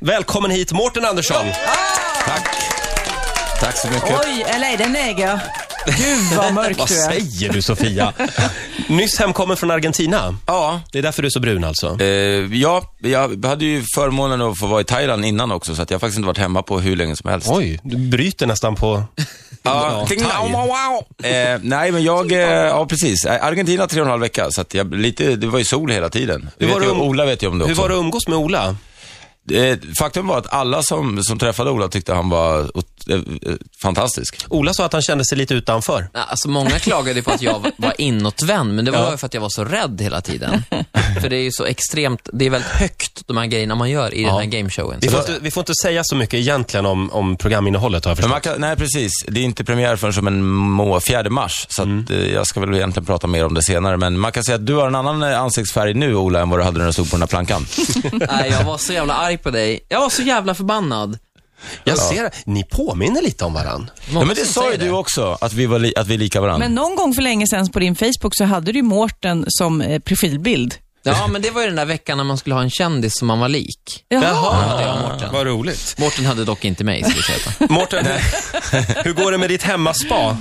Välkommen hit Mårten Andersson. Tack. Tack så mycket. Oj, eller är det neger? Gud vad mörk Vad du är. säger du Sofia? Nyss hemkommen från Argentina. Ja, Det är därför du är så brun alltså. eh, ja, jag hade ju förmånen att få vara i Thailand innan också, så att jag har faktiskt inte varit hemma på hur länge som helst. Oj, du bryter nästan på... Ja, ting- Thai. wow, wow, wow. eh, nej, men jag, eh, ja precis. Eh, Argentina tre och en halv vecka, så att jag, lite, det var ju sol hela tiden. Det Hur var vet ju, det um- Ola vet ju om det Hur också. var det att umgås med Ola? Eh, faktum var att alla som, som träffade Ola tyckte han var ot- eh, eh, fantastisk. Ola sa att han kände sig lite utanför. Ja, Alltså många klagade ju på att jag var- var inåtvänd, men det var ju för att jag var så rädd hela tiden. För det är ju så extremt, det är väldigt högt de här grejerna man gör i den här gameshowen. Vi Så får, det- inte, vi får inte säga så mycket egentligen om, om programinnehållet har jag Men förstått. man kan, nej, precis. Det är inte premiär förrän som en må, 4 mars, så att, eh, jag ska väl egentligen prata mer om det senare. Men man kan säga att du har en annan eh, ansiktsfärg nu, Ola, än vad du hade när du stod på den här plankan. Nej, jag var så jävla arg på dig. Jag var så jävla förbannad. Jag ser, ni påminner lite om varann. Ja, Många men det som sa ju säger du också, att vi, var li- att vi är lika varandra. Men någon gång för länge sedan på din Facebook så hade du ju Mårten som eh, profilbild. Ja, men det var ju den där veckan när man skulle ha en kändis som man var lik. Jaha. vad roligt. Mårten hade dock inte mig, ska vi säga. Mårten, hur- hur går det med ditt hemmaspa?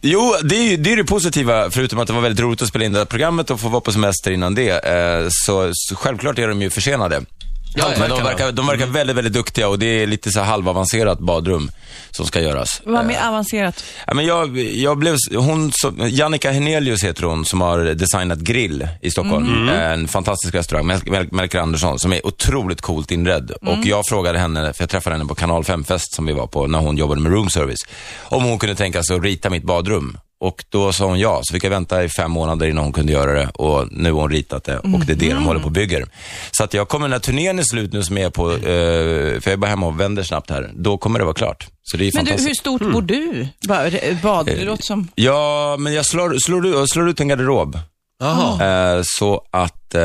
Jo, det är, ju, det är det positiva, förutom att det var väldigt roligt att spela in det här programmet och få vara på semester innan det. Eh, så, så självklart är de ju försenade. Ja, Men de verkar verkar, de verkar väldigt, väldigt duktiga och det är lite så här halvavancerat badrum som ska göras. Vad mer avancerat? Ja, men jag, jag blev, hon, som- Jannica Hernelius heter hon, som har designat Grill i Stockholm. Mm. En fantastisk restaurang, Mel- Mel- Melker Andersson, som är otroligt coolt inredd. Mm. Och jag frågade henne, för jag träffade henne på Kanal 5-fest som vi var på när hon jobbade med room service, om hon kunde tänka sig att rita mitt badrum. Och då sa hon ja, så fick jag vänta i fem månader innan hon kunde göra det och nu har hon ritat det och det är Mm. det de håller på och bygger. Så att jag kommer, när turnén är slut nu som jag är på, eh, för jag är bara hemma och vänder snabbt här, då kommer det vara klart. Så det är Men du, fantastiskt. hur stort Mm. bor du? Ba- re- Bad, Eh, det låter som... Ja, men jag slår, slår, ut- slår ut en garderob. Jaha. Eh, så att eh,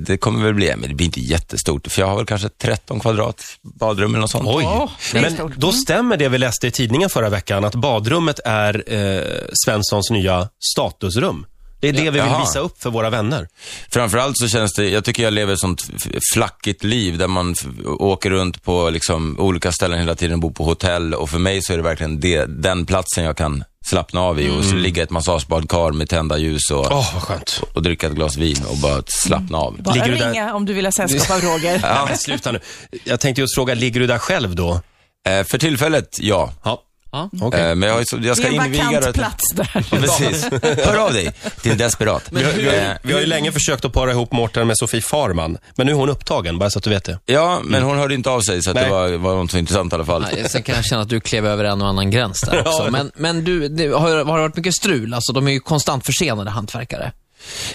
det kommer väl bli, men det blir inte jättestort, för jag har väl kanske 13 kvadrat badrum eller något sånt. Oj. Åh, det är Men stort. Mm. då stämmer det vi läste i tidningen förra veckan, att badrummet är eh, Svenssons nya statusrum. Det är det vi vill Jaha. visa upp för våra vänner. Framförallt så känns det, jag tycker jag lever ett sånt f- flackigt liv där man f- åker runt på liksom, olika ställen hela tiden och bor på hotell och för mig så är det verkligen det, den platsen jag kan slappna av i och Mm. så ligga i ett massagebadkar med tända ljus och, Åh, vad skönt. och dricka ett glas vin och bara slappna av. Bara Ligger du där- ringa om du vill ha sällskap av Roger. Ja. men sluta nu. Jag tänkte just fråga, ligger du där själv då? Eh, för tillfället, ja. Ja. Ja. Okej. Eh, men jag, har ju så- jag Det ska är en inviga vakant det. plats där. Ja, Precis. Hör av dig till Desperat. Vi, har, vi, Eh, har, vi har ju länge försökt att para ihop Mårten med Sofie Farman, men nu är hon upptagen, bara så att du vet det. Ja, men hon hörde inte av sig, så att Nej. det var, var inte så intressant i alla fall. Nej, Sen kan jag känna att du klev över en och annan gräns där också. Men, men du, det har, har det varit mycket strul? Alltså, de är ju konstant försenade hantverkare.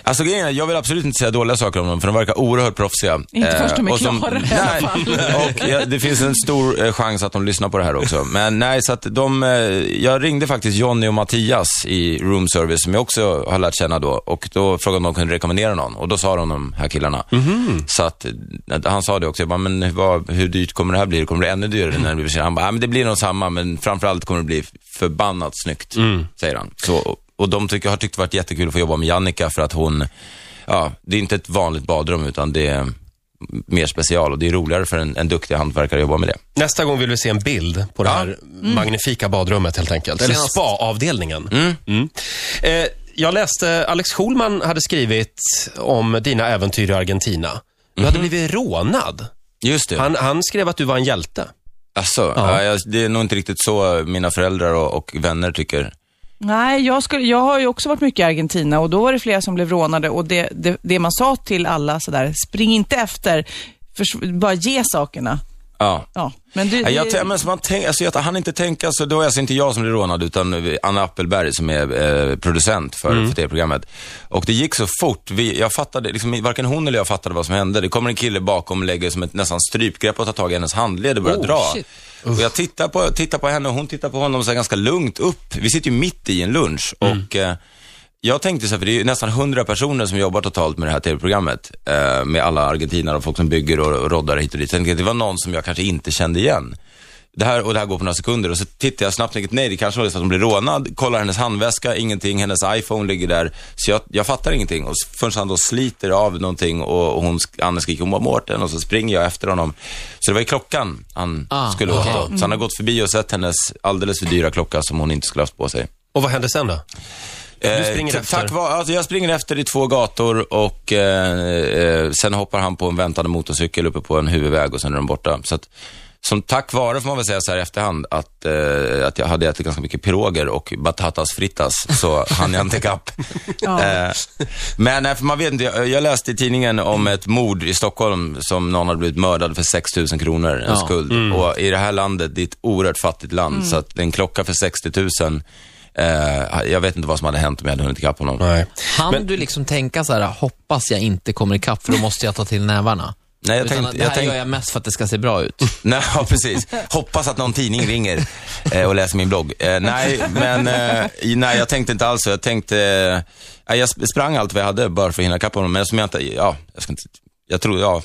Alltså grejen är, jag vill absolut inte säga dåliga saker om dem, för de verkar oerhört proffsiga. Inte Eh, först de är och som- klara i alla Nej, fall. och ja, det finns en stor eh, chans att de lyssnar på det här också. Men nej, så att de, eh, jag ringde faktiskt Jonny och Mattias i room service, som jag också har lärt känna då, och då frågade de om de kunde rekommendera någon, och då sa de de här killarna. Så att, eh, han sa det också, jag bara, men vad, hur dyrt kommer det här bli? Kommer det bli ännu dyrare när det blir försenat? Han bara, "Ja, men det blir nog samma, men framförallt kommer det bli förbannat snyggt, säger han. Så, och de tycker, har tyckt det varit jättekul att få jobba med Jannica för att hon, ja, det är inte ett vanligt badrum utan det är mer special och det är roligare för en, en duktig hantverkare att jobba med det. Nästa gång vill vi se en bild på det här Mm. magnifika badrummet helt enkelt. Eller Senast- spa-avdelningen. Mm. Eh, jag läste, Alex Schulman hade skrivit om dina äventyr i Argentina. Du hade Mhm. blivit rånad. Just det. Han... Han, han skrev att du var en hjälte. Alltså, Ja. ja. jag, det är nog inte riktigt så mina föräldrar och, och vänner tycker. Nej, jag, skulle, jag har ju också varit mycket i Argentina och då var det flera som blev rånade och det, det, det man sa till alla sådär, spring inte efter, förs- bara ge sakerna. Ja. Ja, men du, Ja, Jag, det- tän- men så man tänk, alltså jag hann inte tänka, så det var alltså inte jag som blev rånad, utan Anna Appelberg som är eh, producent för, för det programmet. Och det gick så fort, vi, jag fattade, liksom, varken hon eller jag fattade vad som hände. Det kommer en kille bakom och lägger som ett nästan strypgrepp och tar tag i hennes handled och börjar Oh, dra. shit. Och jag tittar på, tittar på henne och hon tittar på honom så här ganska lugnt upp. Vi sitter ju mitt i en lunch och eh, jag tänkte så här, för det är ju nästan 100 personer som jobbar totalt med det här tv-programmet. Eh, med alla argentinare och folk som bygger och, och roddar hit och dit. Jag tänkte att det var någon som jag kanske inte kände igen. det här, och det här går på några sekunder. Och så tittar jag snabbt och tänker, nej det kanske var så att hon blev rånad. Kollar hennes handväska, ingenting. Hennes iPhone ligger där. Så jag, jag fattar ingenting. Och s- förrän han då sliter av någonting och, och hon, sk- Anne skriker, hon var Mårten. Och så springer jag efter honom. Så det var ju klockan han Ah, skulle åt okej. då. Så han har gått förbi och sett hennes alldeles för dyra klocka som hon inte skulle haft på sig. Och vad hände sen då? Du springer Eh, efter. Tack vare, alltså jag springer efter i två gator och eh, eh, sen hoppar han på en väntande motorcykel uppe på en huvudväg och sen är de borta. Så att, som tack vare, får man väl säga så här i efterhand, att, eh, att jag hade ätit ganska mycket piroger och batatas fritas, så hann jag inte ikapp. eh, men nej, för man vet inte, jag, jag läste i tidningen om ett mord i Stockholm som någon hade blivit mördad för 6 000 kronor, en Ja. skuld. Och i det här landet, det är ett oerhört fattigt land, så att en klocka för 60 000 Eh, jag vet inte vad som hade hänt om jag hade hunnit ikapp honom. Nej. Han du liksom tänka så här, hoppas jag inte kommer ikapp för då måste jag ta till nävarna? Nej, jag Utan tänkte, det här jag tänkte, gör jag mest för att det ska se bra ut. nej, ja, precis. Hoppas att någon tidning ringer eh, och läser min blogg. Eh, nej, men eh, i- nej, jag tänkte inte alls så. Jag tänkte, eh, nej, jag sp- sprang allt vad jag hade bara för att hinna ikapp honom, men som jag inte, ja, jag ska inte, jag tror, ja.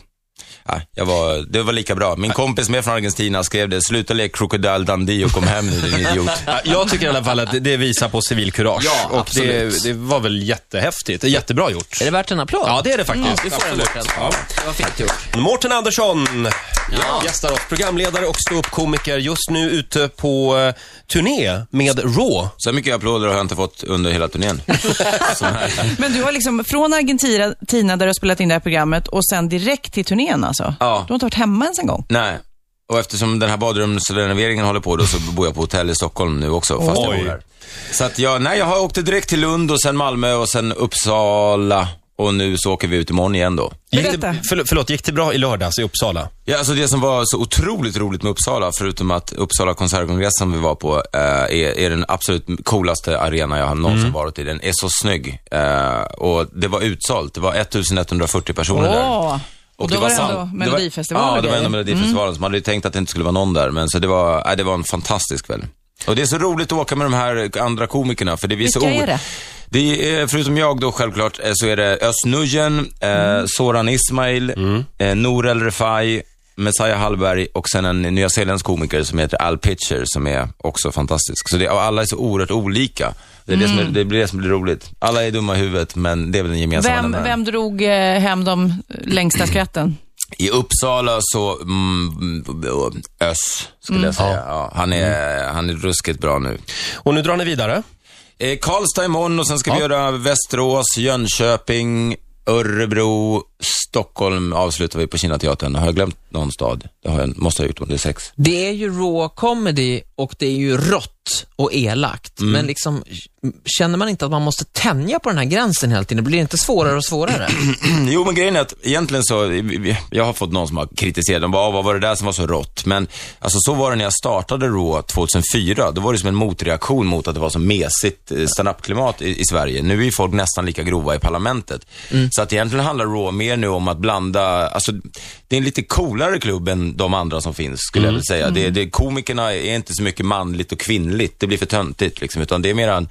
Nej, jag var, det var lika bra. Min kompis med från Argentina skrev det, sluta leka Crocodile Dundee och kom hem nu din idiot. Ja, Jag tycker i alla fall att det- det visar på civilkurage. Ja, och det, absolut. det var väl jättehäftigt. Jättebra gjort. Är det värt en applåd? Ja, det är det faktiskt. Du får en Absolut. bortre applåd. Det var fint gjort. Mårten Andersson Ja. gästar oss, programledare och ståuppkomiker. Just nu ute på eh, turné med Raw. Så mycket applåder har jag inte fått under hela turnén. Men du har liksom från Argentina, Tina, där du har spelat in det här programmet, och sen direkt till turnén alltså? Ja. Du har inte varit hemma ens en gång? Nej. Och eftersom den här badrumsrenoveringen håller på då så bor jag på hotell i Stockholm nu också, fast jag Oj. bor här. Så att jag, nej jag har åkte direkt till Lund och sen Malmö och sen Uppsala och nu så åker vi ut imorgon igen då. Gick Berätta. det, förl- förlåt, gick det bra i lördags i Uppsala? Ja, alltså det som var så otroligt roligt med Uppsala, förutom att Uppsala konsertkongress som vi var på, eh, är, är den absolut coolaste arena jag har någonsin varit i. Den är så snygg. Eh, och det var utsålt. Det var 1140 personer där. Åh. Och då var det ändå sant. Melodifestivalen det var, och Ja, det var grejer. ändå Melodifestivalen. Så man hade ju tänkt att det inte skulle vara någon där, men så det var, nej, det var en fantastisk kväll. Och det är så roligt att åka med de här andra komikerna, för det visar Vilka är o- det? det är, förutom jag då självklart, eh, så är det Özz Nujen, Mm. eh, Soran Ismail, eh, Norel Refai, Messiah Hallberg och sen en nyzeeländsk komiker som heter Al Pitcher som är också fantastisk. Så det, och alla är så oerhört olika. Det, är det, som Mm. är, det blir det som blir roligt. Alla är dumma i huvudet, men det är väl den gemensamma Vem, nämnaren. vem drog eh, hem de längsta skratten? I Uppsala så, mm, Özz skulle jag säga. Ja, han, är, han är ruskigt bra nu. Och nu drar ni vidare. Eh, Karlstad imorgon och sen ska vi göra Västerås, Jönköping, Örebro, Stockholm avslutar vi på Kinateatern. Har jag glömt någon stad? Det har jag, måste jag ha gjort om det är sex. Det är ju raw comedy och det är ju rått och elakt. Men liksom, känner man inte att man måste tänja på den här gränsen hela tiden? Blir det inte svårare och svårare? jo, men grejen är att egentligen så, vi- vi- jag har fått någon som har kritiserat dem. Bara, "Ah, vad var det där som var så rått? Men alltså, så var det när jag startade Raw 2004. Då var det som en motreaktion mot att det var så mesigt eh, standup-klimat i, i Sverige. Nu är ju folk nästan lika grova i parlamentet. Så att egentligen handlar Raw mer nu om att blanda, alltså det är en lite coolare klubb än de andra som finns, skulle jag vilja säga. Det, det, komikerna är inte så mycket manligt och kvinnligt, det blir för töntigt liksom, utan det är mer en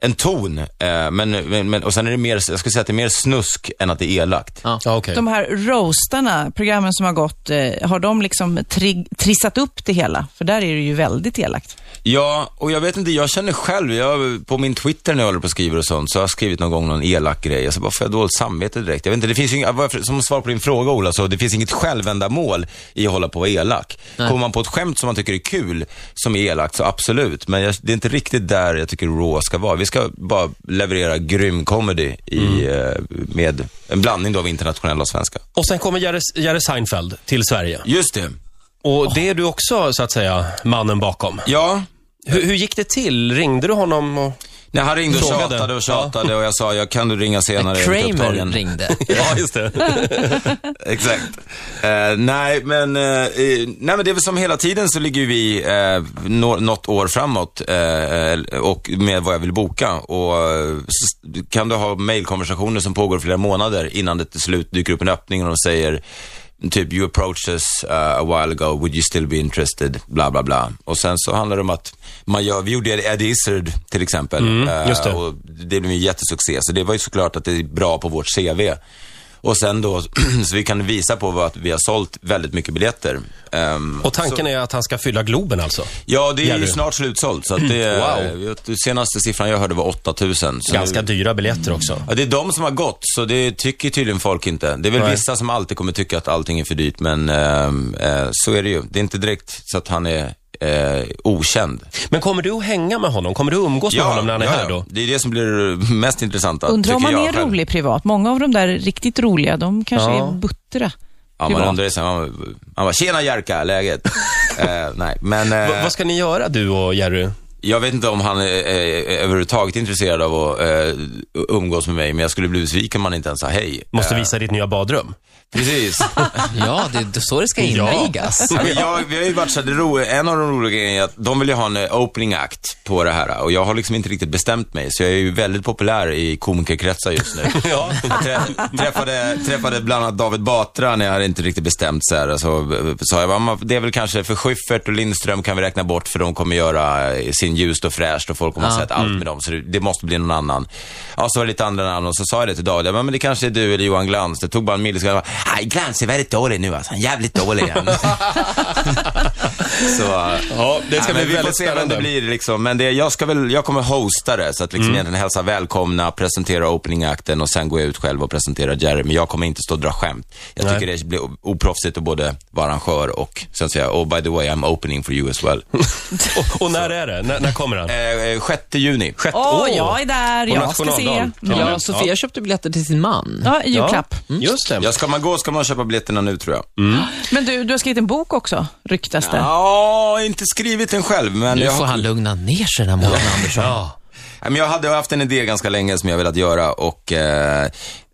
en ton, eh, men, men, men, och sen är det mer, jag skulle säga att det är mer snusk än att det är elakt. Ja, okej. De här roastarna, programmen som har gått, eh, har de liksom trig- trissat upp det hela? För där är det ju väldigt elakt. Ja, och jag vet inte, jag känner själv, jag, på min Twitter när jag håller på och skriver och sånt, så har jag skrivit någon gång någon elak grej, alltså bara får jag dåligt samvete direkt? Jag vet inte, det finns ju inga, varför- som svar på din fråga Ola, så det finns inget självändamål i att hålla på och vara elak. Kommer man på ett skämt som man tycker är kul, som är elakt, så absolut, men jag, det är inte riktigt där jag tycker Raw ska vara. Vi ska bara leverera grym comedy i, eh, med en blandning då av internationella och svenska. Och sen kommer Jerry, Jerry Seinfeld till Sverige. Just det. Och det är du också, så att säga, mannen bakom. Ja, Hur, hur gick det till? Ringde du honom och... Nej, han ringde och Frågade. tjatade och tjatade och jag sa, jag kan du ringa senare? jag är lite Kramer upptagen." ringde. Ja, just det. Exakt. Eh, nej, men, eh, eh, nej, men det är väl som hela tiden så ligger ju vi eh, nå- något år framåt eh, och med vad jag vill boka. Och eh, s- kan du ha mejlkonversationer som pågår flera månader innan det till slut dyker upp en öppning och de säger typ you approached us eh, a while ago, would you still be interested? Bla, bla, bla. Och sen så handlar det om att man gör, vi gjorde Eddie Izzard till exempel. eh, Mm, just det. och det blev en jättesuccé, så det var ju såklart att det är bra på vårt CV. Och sen då, så vi kan visa på att vi har sålt väldigt mycket biljetter. Ehm, Och tanken är att han ska fylla Globen alltså? Ja, det är Jerry. ju snart slutsålt. Så att det, Wow. jag- den senaste siffran jag hörde var 8000. Så Ganska nu, dyra biljetter också. ja, det är de som har gått, så det tycker tydligen folk inte. Det är väl Nej. vissa som alltid kommer tycka att allting är för dyrt, men ehm, eh, så är det ju. Det är inte direkt så att han är eh, okänd. Men kommer du att hänga med honom? Kommer du att umgås med honom när han är ja, här ja. då? Det är det som blir mest intressant. Undrar om man är själv. rolig privat. Många av de där riktigt roliga, de kanske är buttra. Ja, man privat. undrar ju sen, man, man bara, tjena Jerka, läget? eh, nej, men... eh, Va- vad ska ni göra du och Jerry? Jag vet inte om han är, är, är överhuvudtaget intresserad av att eh, umgås med mig, men jag skulle bli besviken om han inte ens sa hej. Måste visa ditt nya badrum. Precis. Ja, det är så det ska Ja. invigas. Ja, men jag, vi har ju varit så här, det ro, en av de roliga grejerna är att de vill ju ha en eh, opening act på det här och jag har liksom inte riktigt bestämt mig, så jag är ju väldigt populär i komikerkretsar just nu. Ja. Jag trä- träffade, träffade bland annat David Batra när jag hade inte riktigt bestämt så här. Så eh, sa jag, "Ja, men det är väl kanske för Schyffert och Lindström kan vi räkna bort för de kommer göra eh, sin ljust och fräscht och folk kommer ha sett allt med dem. Så det, det måste bli någon annan. Ja, så var det lite andra namn och så sa jag det till David. Jag bara, men det kanske är du eller Johan Glans. Det tog bara en millisekund. Jag bara, Nej, Glans är väldigt dålig nu alltså. Han är jävligt dålig. igen." så, Ja, det ska men bli vi får väldigt se vem spännande. Mm. det blir liksom. Men det, jag, ska väl, jag kommer hosta det, så att liksom egentligen hälsa välkomna, presentera opening-akten och sen går jag ut själv och presenterar Jerry. Men jag kommer inte stå och dra skämt. Jag Nej. tycker det blir o- oproffsigt att både vara arrangör och sen säga, oh by the way I'm opening for you as well. Och, och när är det? När, när kommer han? eh, eh, 6 juni. Sjätte- Åh, Åh! jag är där, På jag ska se. Mm. nationaldagen. Ja, Sofia köpte biljetter till sin man. Ja, julklapp. Ja, Mm. Just det. Ja, ska man gå ska man köpa biljetterna nu tror jag. Mm. Men du, du har skrivit en bok också, ryktas det. Ja, inte skrivit den själv, men Nu jag, får han lugna ner sig den här morgonen, Andersson. Nej, men jag hade haft en idé ganska länge som jag velat göra och eh,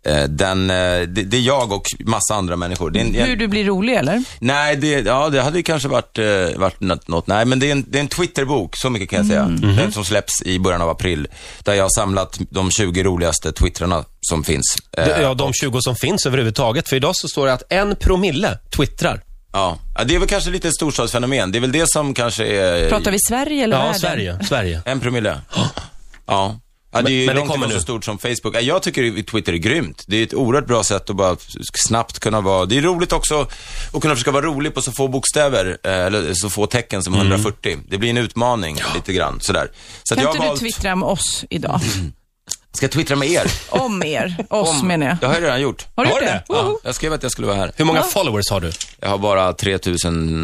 eh, den, eh, det, det är jag och massa andra människor. Det är en, Hur du blir rolig, eller? Nej, det, ja, det hade ju kanske varit, eh, varit något, något. Nej, men det är en, det är en Twitterbok, så mycket kan jag säga. Den som släpps i början av april. Där jag har samlat de 20 roligaste twittrarna som finns. Eh, Ja, de 20 som finns överhuvudtaget. För idag så står det att en promille twittrar. ja. Ja, det är väl kanske lite ett storstadsfenomen. Det är väl det som kanske är... Pratar vi Sverige eller Ja, världen? Sverige. Sverige. En promille. Ja. Ja, det är ju Men- men det långt kommer ifrån så nu. stort som Facebook. Ja, Jag tycker ju Twitter är grymt. Det är ett oerhört bra sätt att bara snabbt kunna vara... Det är roligt också att kunna försöka vara rolig på så få bokstäver, eh, eller så få tecken som Mm. 140. Det blir en utmaning lite grann sådär. Så att Kan jag inte har du valt... twittra om oss idag? Ska jag twittra med er? Om er. Oss menar jag. Det har jag redan gjort. Har du Har gjort du det? det? Woho! Jag skrev att jag skulle vara här. Hur många followers har du? Jag har bara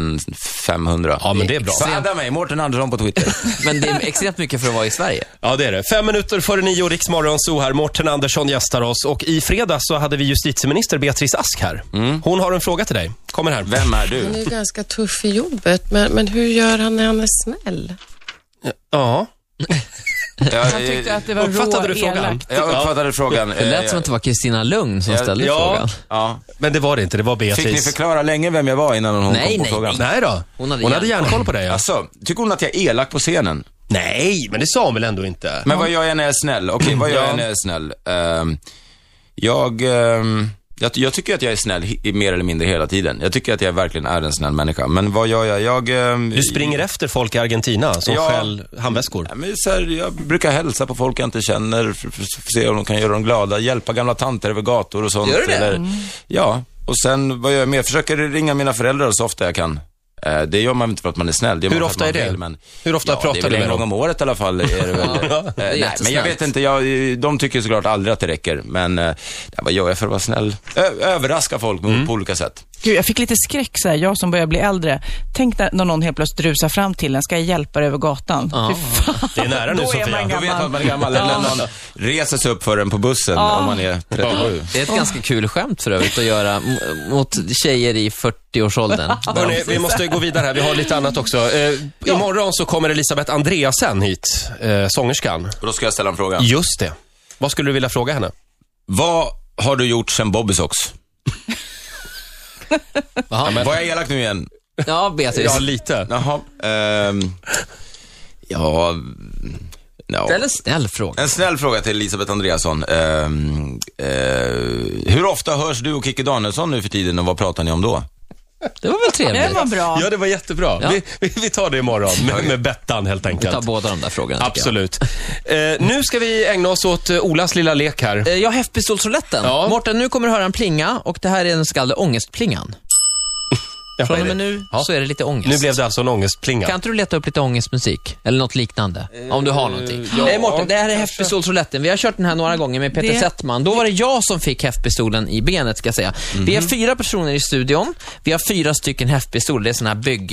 3500. Ja, men det är bra. Fadda mig, Mårten Andersson på Twitter. Men det är extremt mycket för att vara i Sverige. Ja, det är det. Fem minuter före nio, Riksmorgon så här. Morten Andersson gästar oss. Och i fredag så hade vi justitieminister Beatrice Ask här. Hon har en fråga till dig. Kommer här. Vem är du? Han är ju ganska tuff i jobbet, men, men hur gör han när han är snäll? Ja. Jag, Jag tyckte att det var Uppfattade rå du frågan? elakt. jag uppfattade frågan. Det lät Eh, som att det var Kristina Lugn som Ja, ställde ja. frågan. Ja. Men det var det inte. Det var Fick ni Beatrice. förklara länge vem jag var innan hon Nej, kom på nej, frågan? nej. Nej då. Hon hade Hon hade järnkoll på dig, ja. Alltså, tycker hon att jag är elak på scenen? Nej, men det sa hon väl ändå inte? Men vad gör jag när jag är snäll? Okej, vad gör jag när jag är snäll? Ehm, jag, ehm, jag, jag tycker att jag är snäll he- mer eller mindre hela tiden. Jag tycker att jag verkligen är en snäll människa. Men vad gör jag? Jag, ehm, Du springer efter folk i Argentina som Ja. stjäl handväskor. Ja, men så här, jag brukar hälsa på folk jag inte känner, för, för, för att se om de kan göra dem glada, hjälpa gamla tanter över gator och sånt. Gör du det? Eller, Ja, och sen vad gör jag mer? Jag Försöker ringa mina föräldrar så ofta jag kan. Eh, Det gör man inte för att man är snäll. Det gör Hur man för ofta att är man det? Vill, men... Hur ofta ja, pratar det är väl du med en gång dem? om året i alla fall. Är det väl. Eh, nej, men jag jättesnällt. vet inte. Jag, de tycker såklart aldrig att det räcker. Men eh, vad gör jag för att vara snäll? Ö- överraska folk på olika sätt. Gud, jag fick lite skräck så här, jag som börjar bli äldre. Tänk när när någon helt plötsligt rusar fram till en, ska jag hjälpa dig över gatan? Fy fan. Det är nära nu, Då är man Sofia. gammal. Då vet man att man är gammal. Eller när någon reser sig upp för en på bussen om man är 37. Det är ett ganska kul skämt för övrigt att göra m- mot tjejer i 40-årsåldern. Hörrni, vi måste gå vidare här. Vi har lite annat också. Eh, Imorgon så kommer Elisabeth Andreasen hit, eh, sångerskan. Och då ska jag ställa en fråga. Just det. Vad skulle du vilja fråga henne? Vad har du gjort sen Bobbysocks? Jaha. Var jag elak nu igen? Ja, Beatrice. Ja, lite. Jaha. ehm, ja... ja. Ställ en snäll fråga. En snäll fråga till Elisabeth Andreasson. Ehm, eh, hur ofta hörs du och Kikki Danielsson nu för tiden och vad pratar ni om då? Det var väl Det trevligt? var bra. Ja, det var jättebra. Ja. Vi, vi, vi tar det imorgon med, med Bettan helt Vi enkelt. tar båda de där frågorna. tycker jag. Absolut. Eh, nu ska vi ägna oss åt eh, Olas lilla lek här. Eh, Ja, häftpistolsrouletten. Ja. Mårten, nu kommer du höra en plinga och det här är den så kallade ångestplingan. Ja, Eh, Från och vad är med det? nu Ja. så är det lite ångest. Nu blev det alltså en ångestplinga. Kan inte du leta upp lite ångestmusik? Eller något liknande? om du har någonting. ja, Eh, Mårten, det här är häftpistolsrouletten. Vi har kört den här några gånger med Peter Det- Settman. Då var det jag som fick häftpistolen i benet, ska jag säga. Vi är fyra personer i studion. Vi har fyra stycken häftpistoler. Det är sådana här bygg,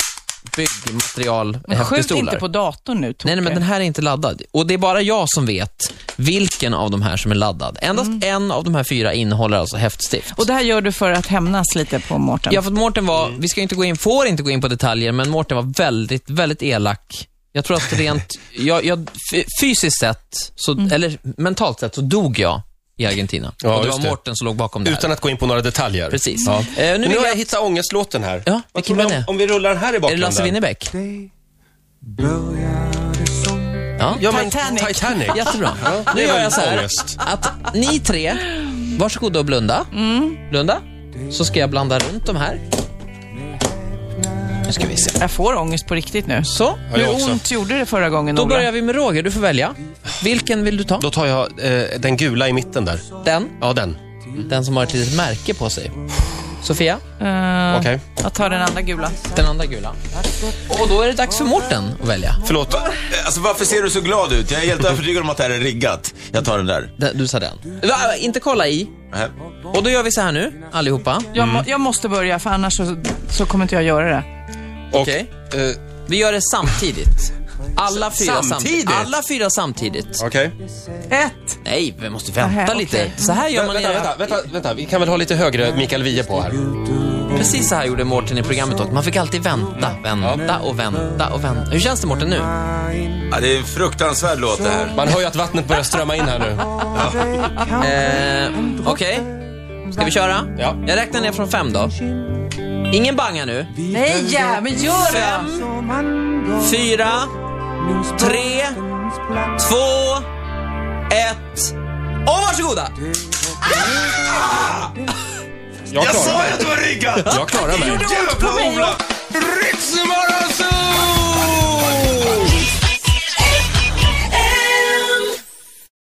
byggmaterial Men skjut häftpistoler. inte på datorn nu, Nej, nej, men den här är inte laddad. Och det är bara jag som vet vilken av de här som är laddad. Endast Mm. en av de här fyra innehåller alltså häftstift. Och det här gör du för att hämnas lite på Mårten? Ja, för att Mårten var, Mm. vi ska ju inte gå in, får inte gå in på detaljer, men Mårten var väldigt, väldigt elak. Jag tror att rent, jag, jag, f- fysiskt sett, så, eller mentalt sett, så dog jag i Argentina. Mm. Ja, och det just var det. Mårten som låg bakom det här. Utan att gå in på några detaljer. Precis. Ja. Eh, nu nu vill har jag jag hitta, hittat ångestlåten här. Ja, Vad vilken tror var ni om, det? om vi rullar den här i är det bakgrunden? Lasse Winnerbäck? Ja, Ja, men Titanic. Titanic. Titanic. jättebra. Ja, nu det är gör väl jag så här, ångest. att ni tre, varsågoda och blunda. Mm. Blunda. Så ska jag blanda runt de här. Nu ska vi se. Jag får ångest på riktigt nu. Så. Ja, jag Hur också. ont gjorde det förra gången, Då Ola? börjar vi med Roger, du får välja. Vilken vill du ta? Då tar jag eh, den gula i mitten där. Den. Ja, den. Den som har ett litet märke på sig. Sofia, Eh, Okej. Jag tar den andra gula. den andra gula. Och då är det dags för Mårten att välja. Förlåt. Alltså varför ser du så glad ut? Jag är helt övertygad om att det här är riggat. Jag tar den där. Den- Du sa den. Va, inte kolla i. Här. Och då gör vi så här nu, allihopa. Jag, må, jag måste börja, för annars så, så kommer inte jag göra det. Och, Okej. eh, Vi gör det samtidigt. Alla fyra Samtidigt? Alla fyra samtidigt. Okej. Ett! Nej, vi måste vänta Aha, lite. okej. Så här gör man i det Vänta, här- vänta, vänta, vänta. Vi kan väl ha lite högre Mikael Wiehe på här. Precis så här gjorde Mårten i programmet också. Man fick alltid vänta, Mm. vänta och vänta och vänta. Hur känns det Mårten nu? Ja, det är en fruktansvärd låt det här. Man hör ju att vattnet börjar strömma in här nu. Eh, Okej, ska vi köra? Ja. Jag räknar ner från fem då. Ingen banga nu. Nej, ja, men gör det! Fyra, tre, två, ett och varsågoda! Jag Jag klarar sa mig. ju att det var riggat! Jag klarar mig. Jävla Ola!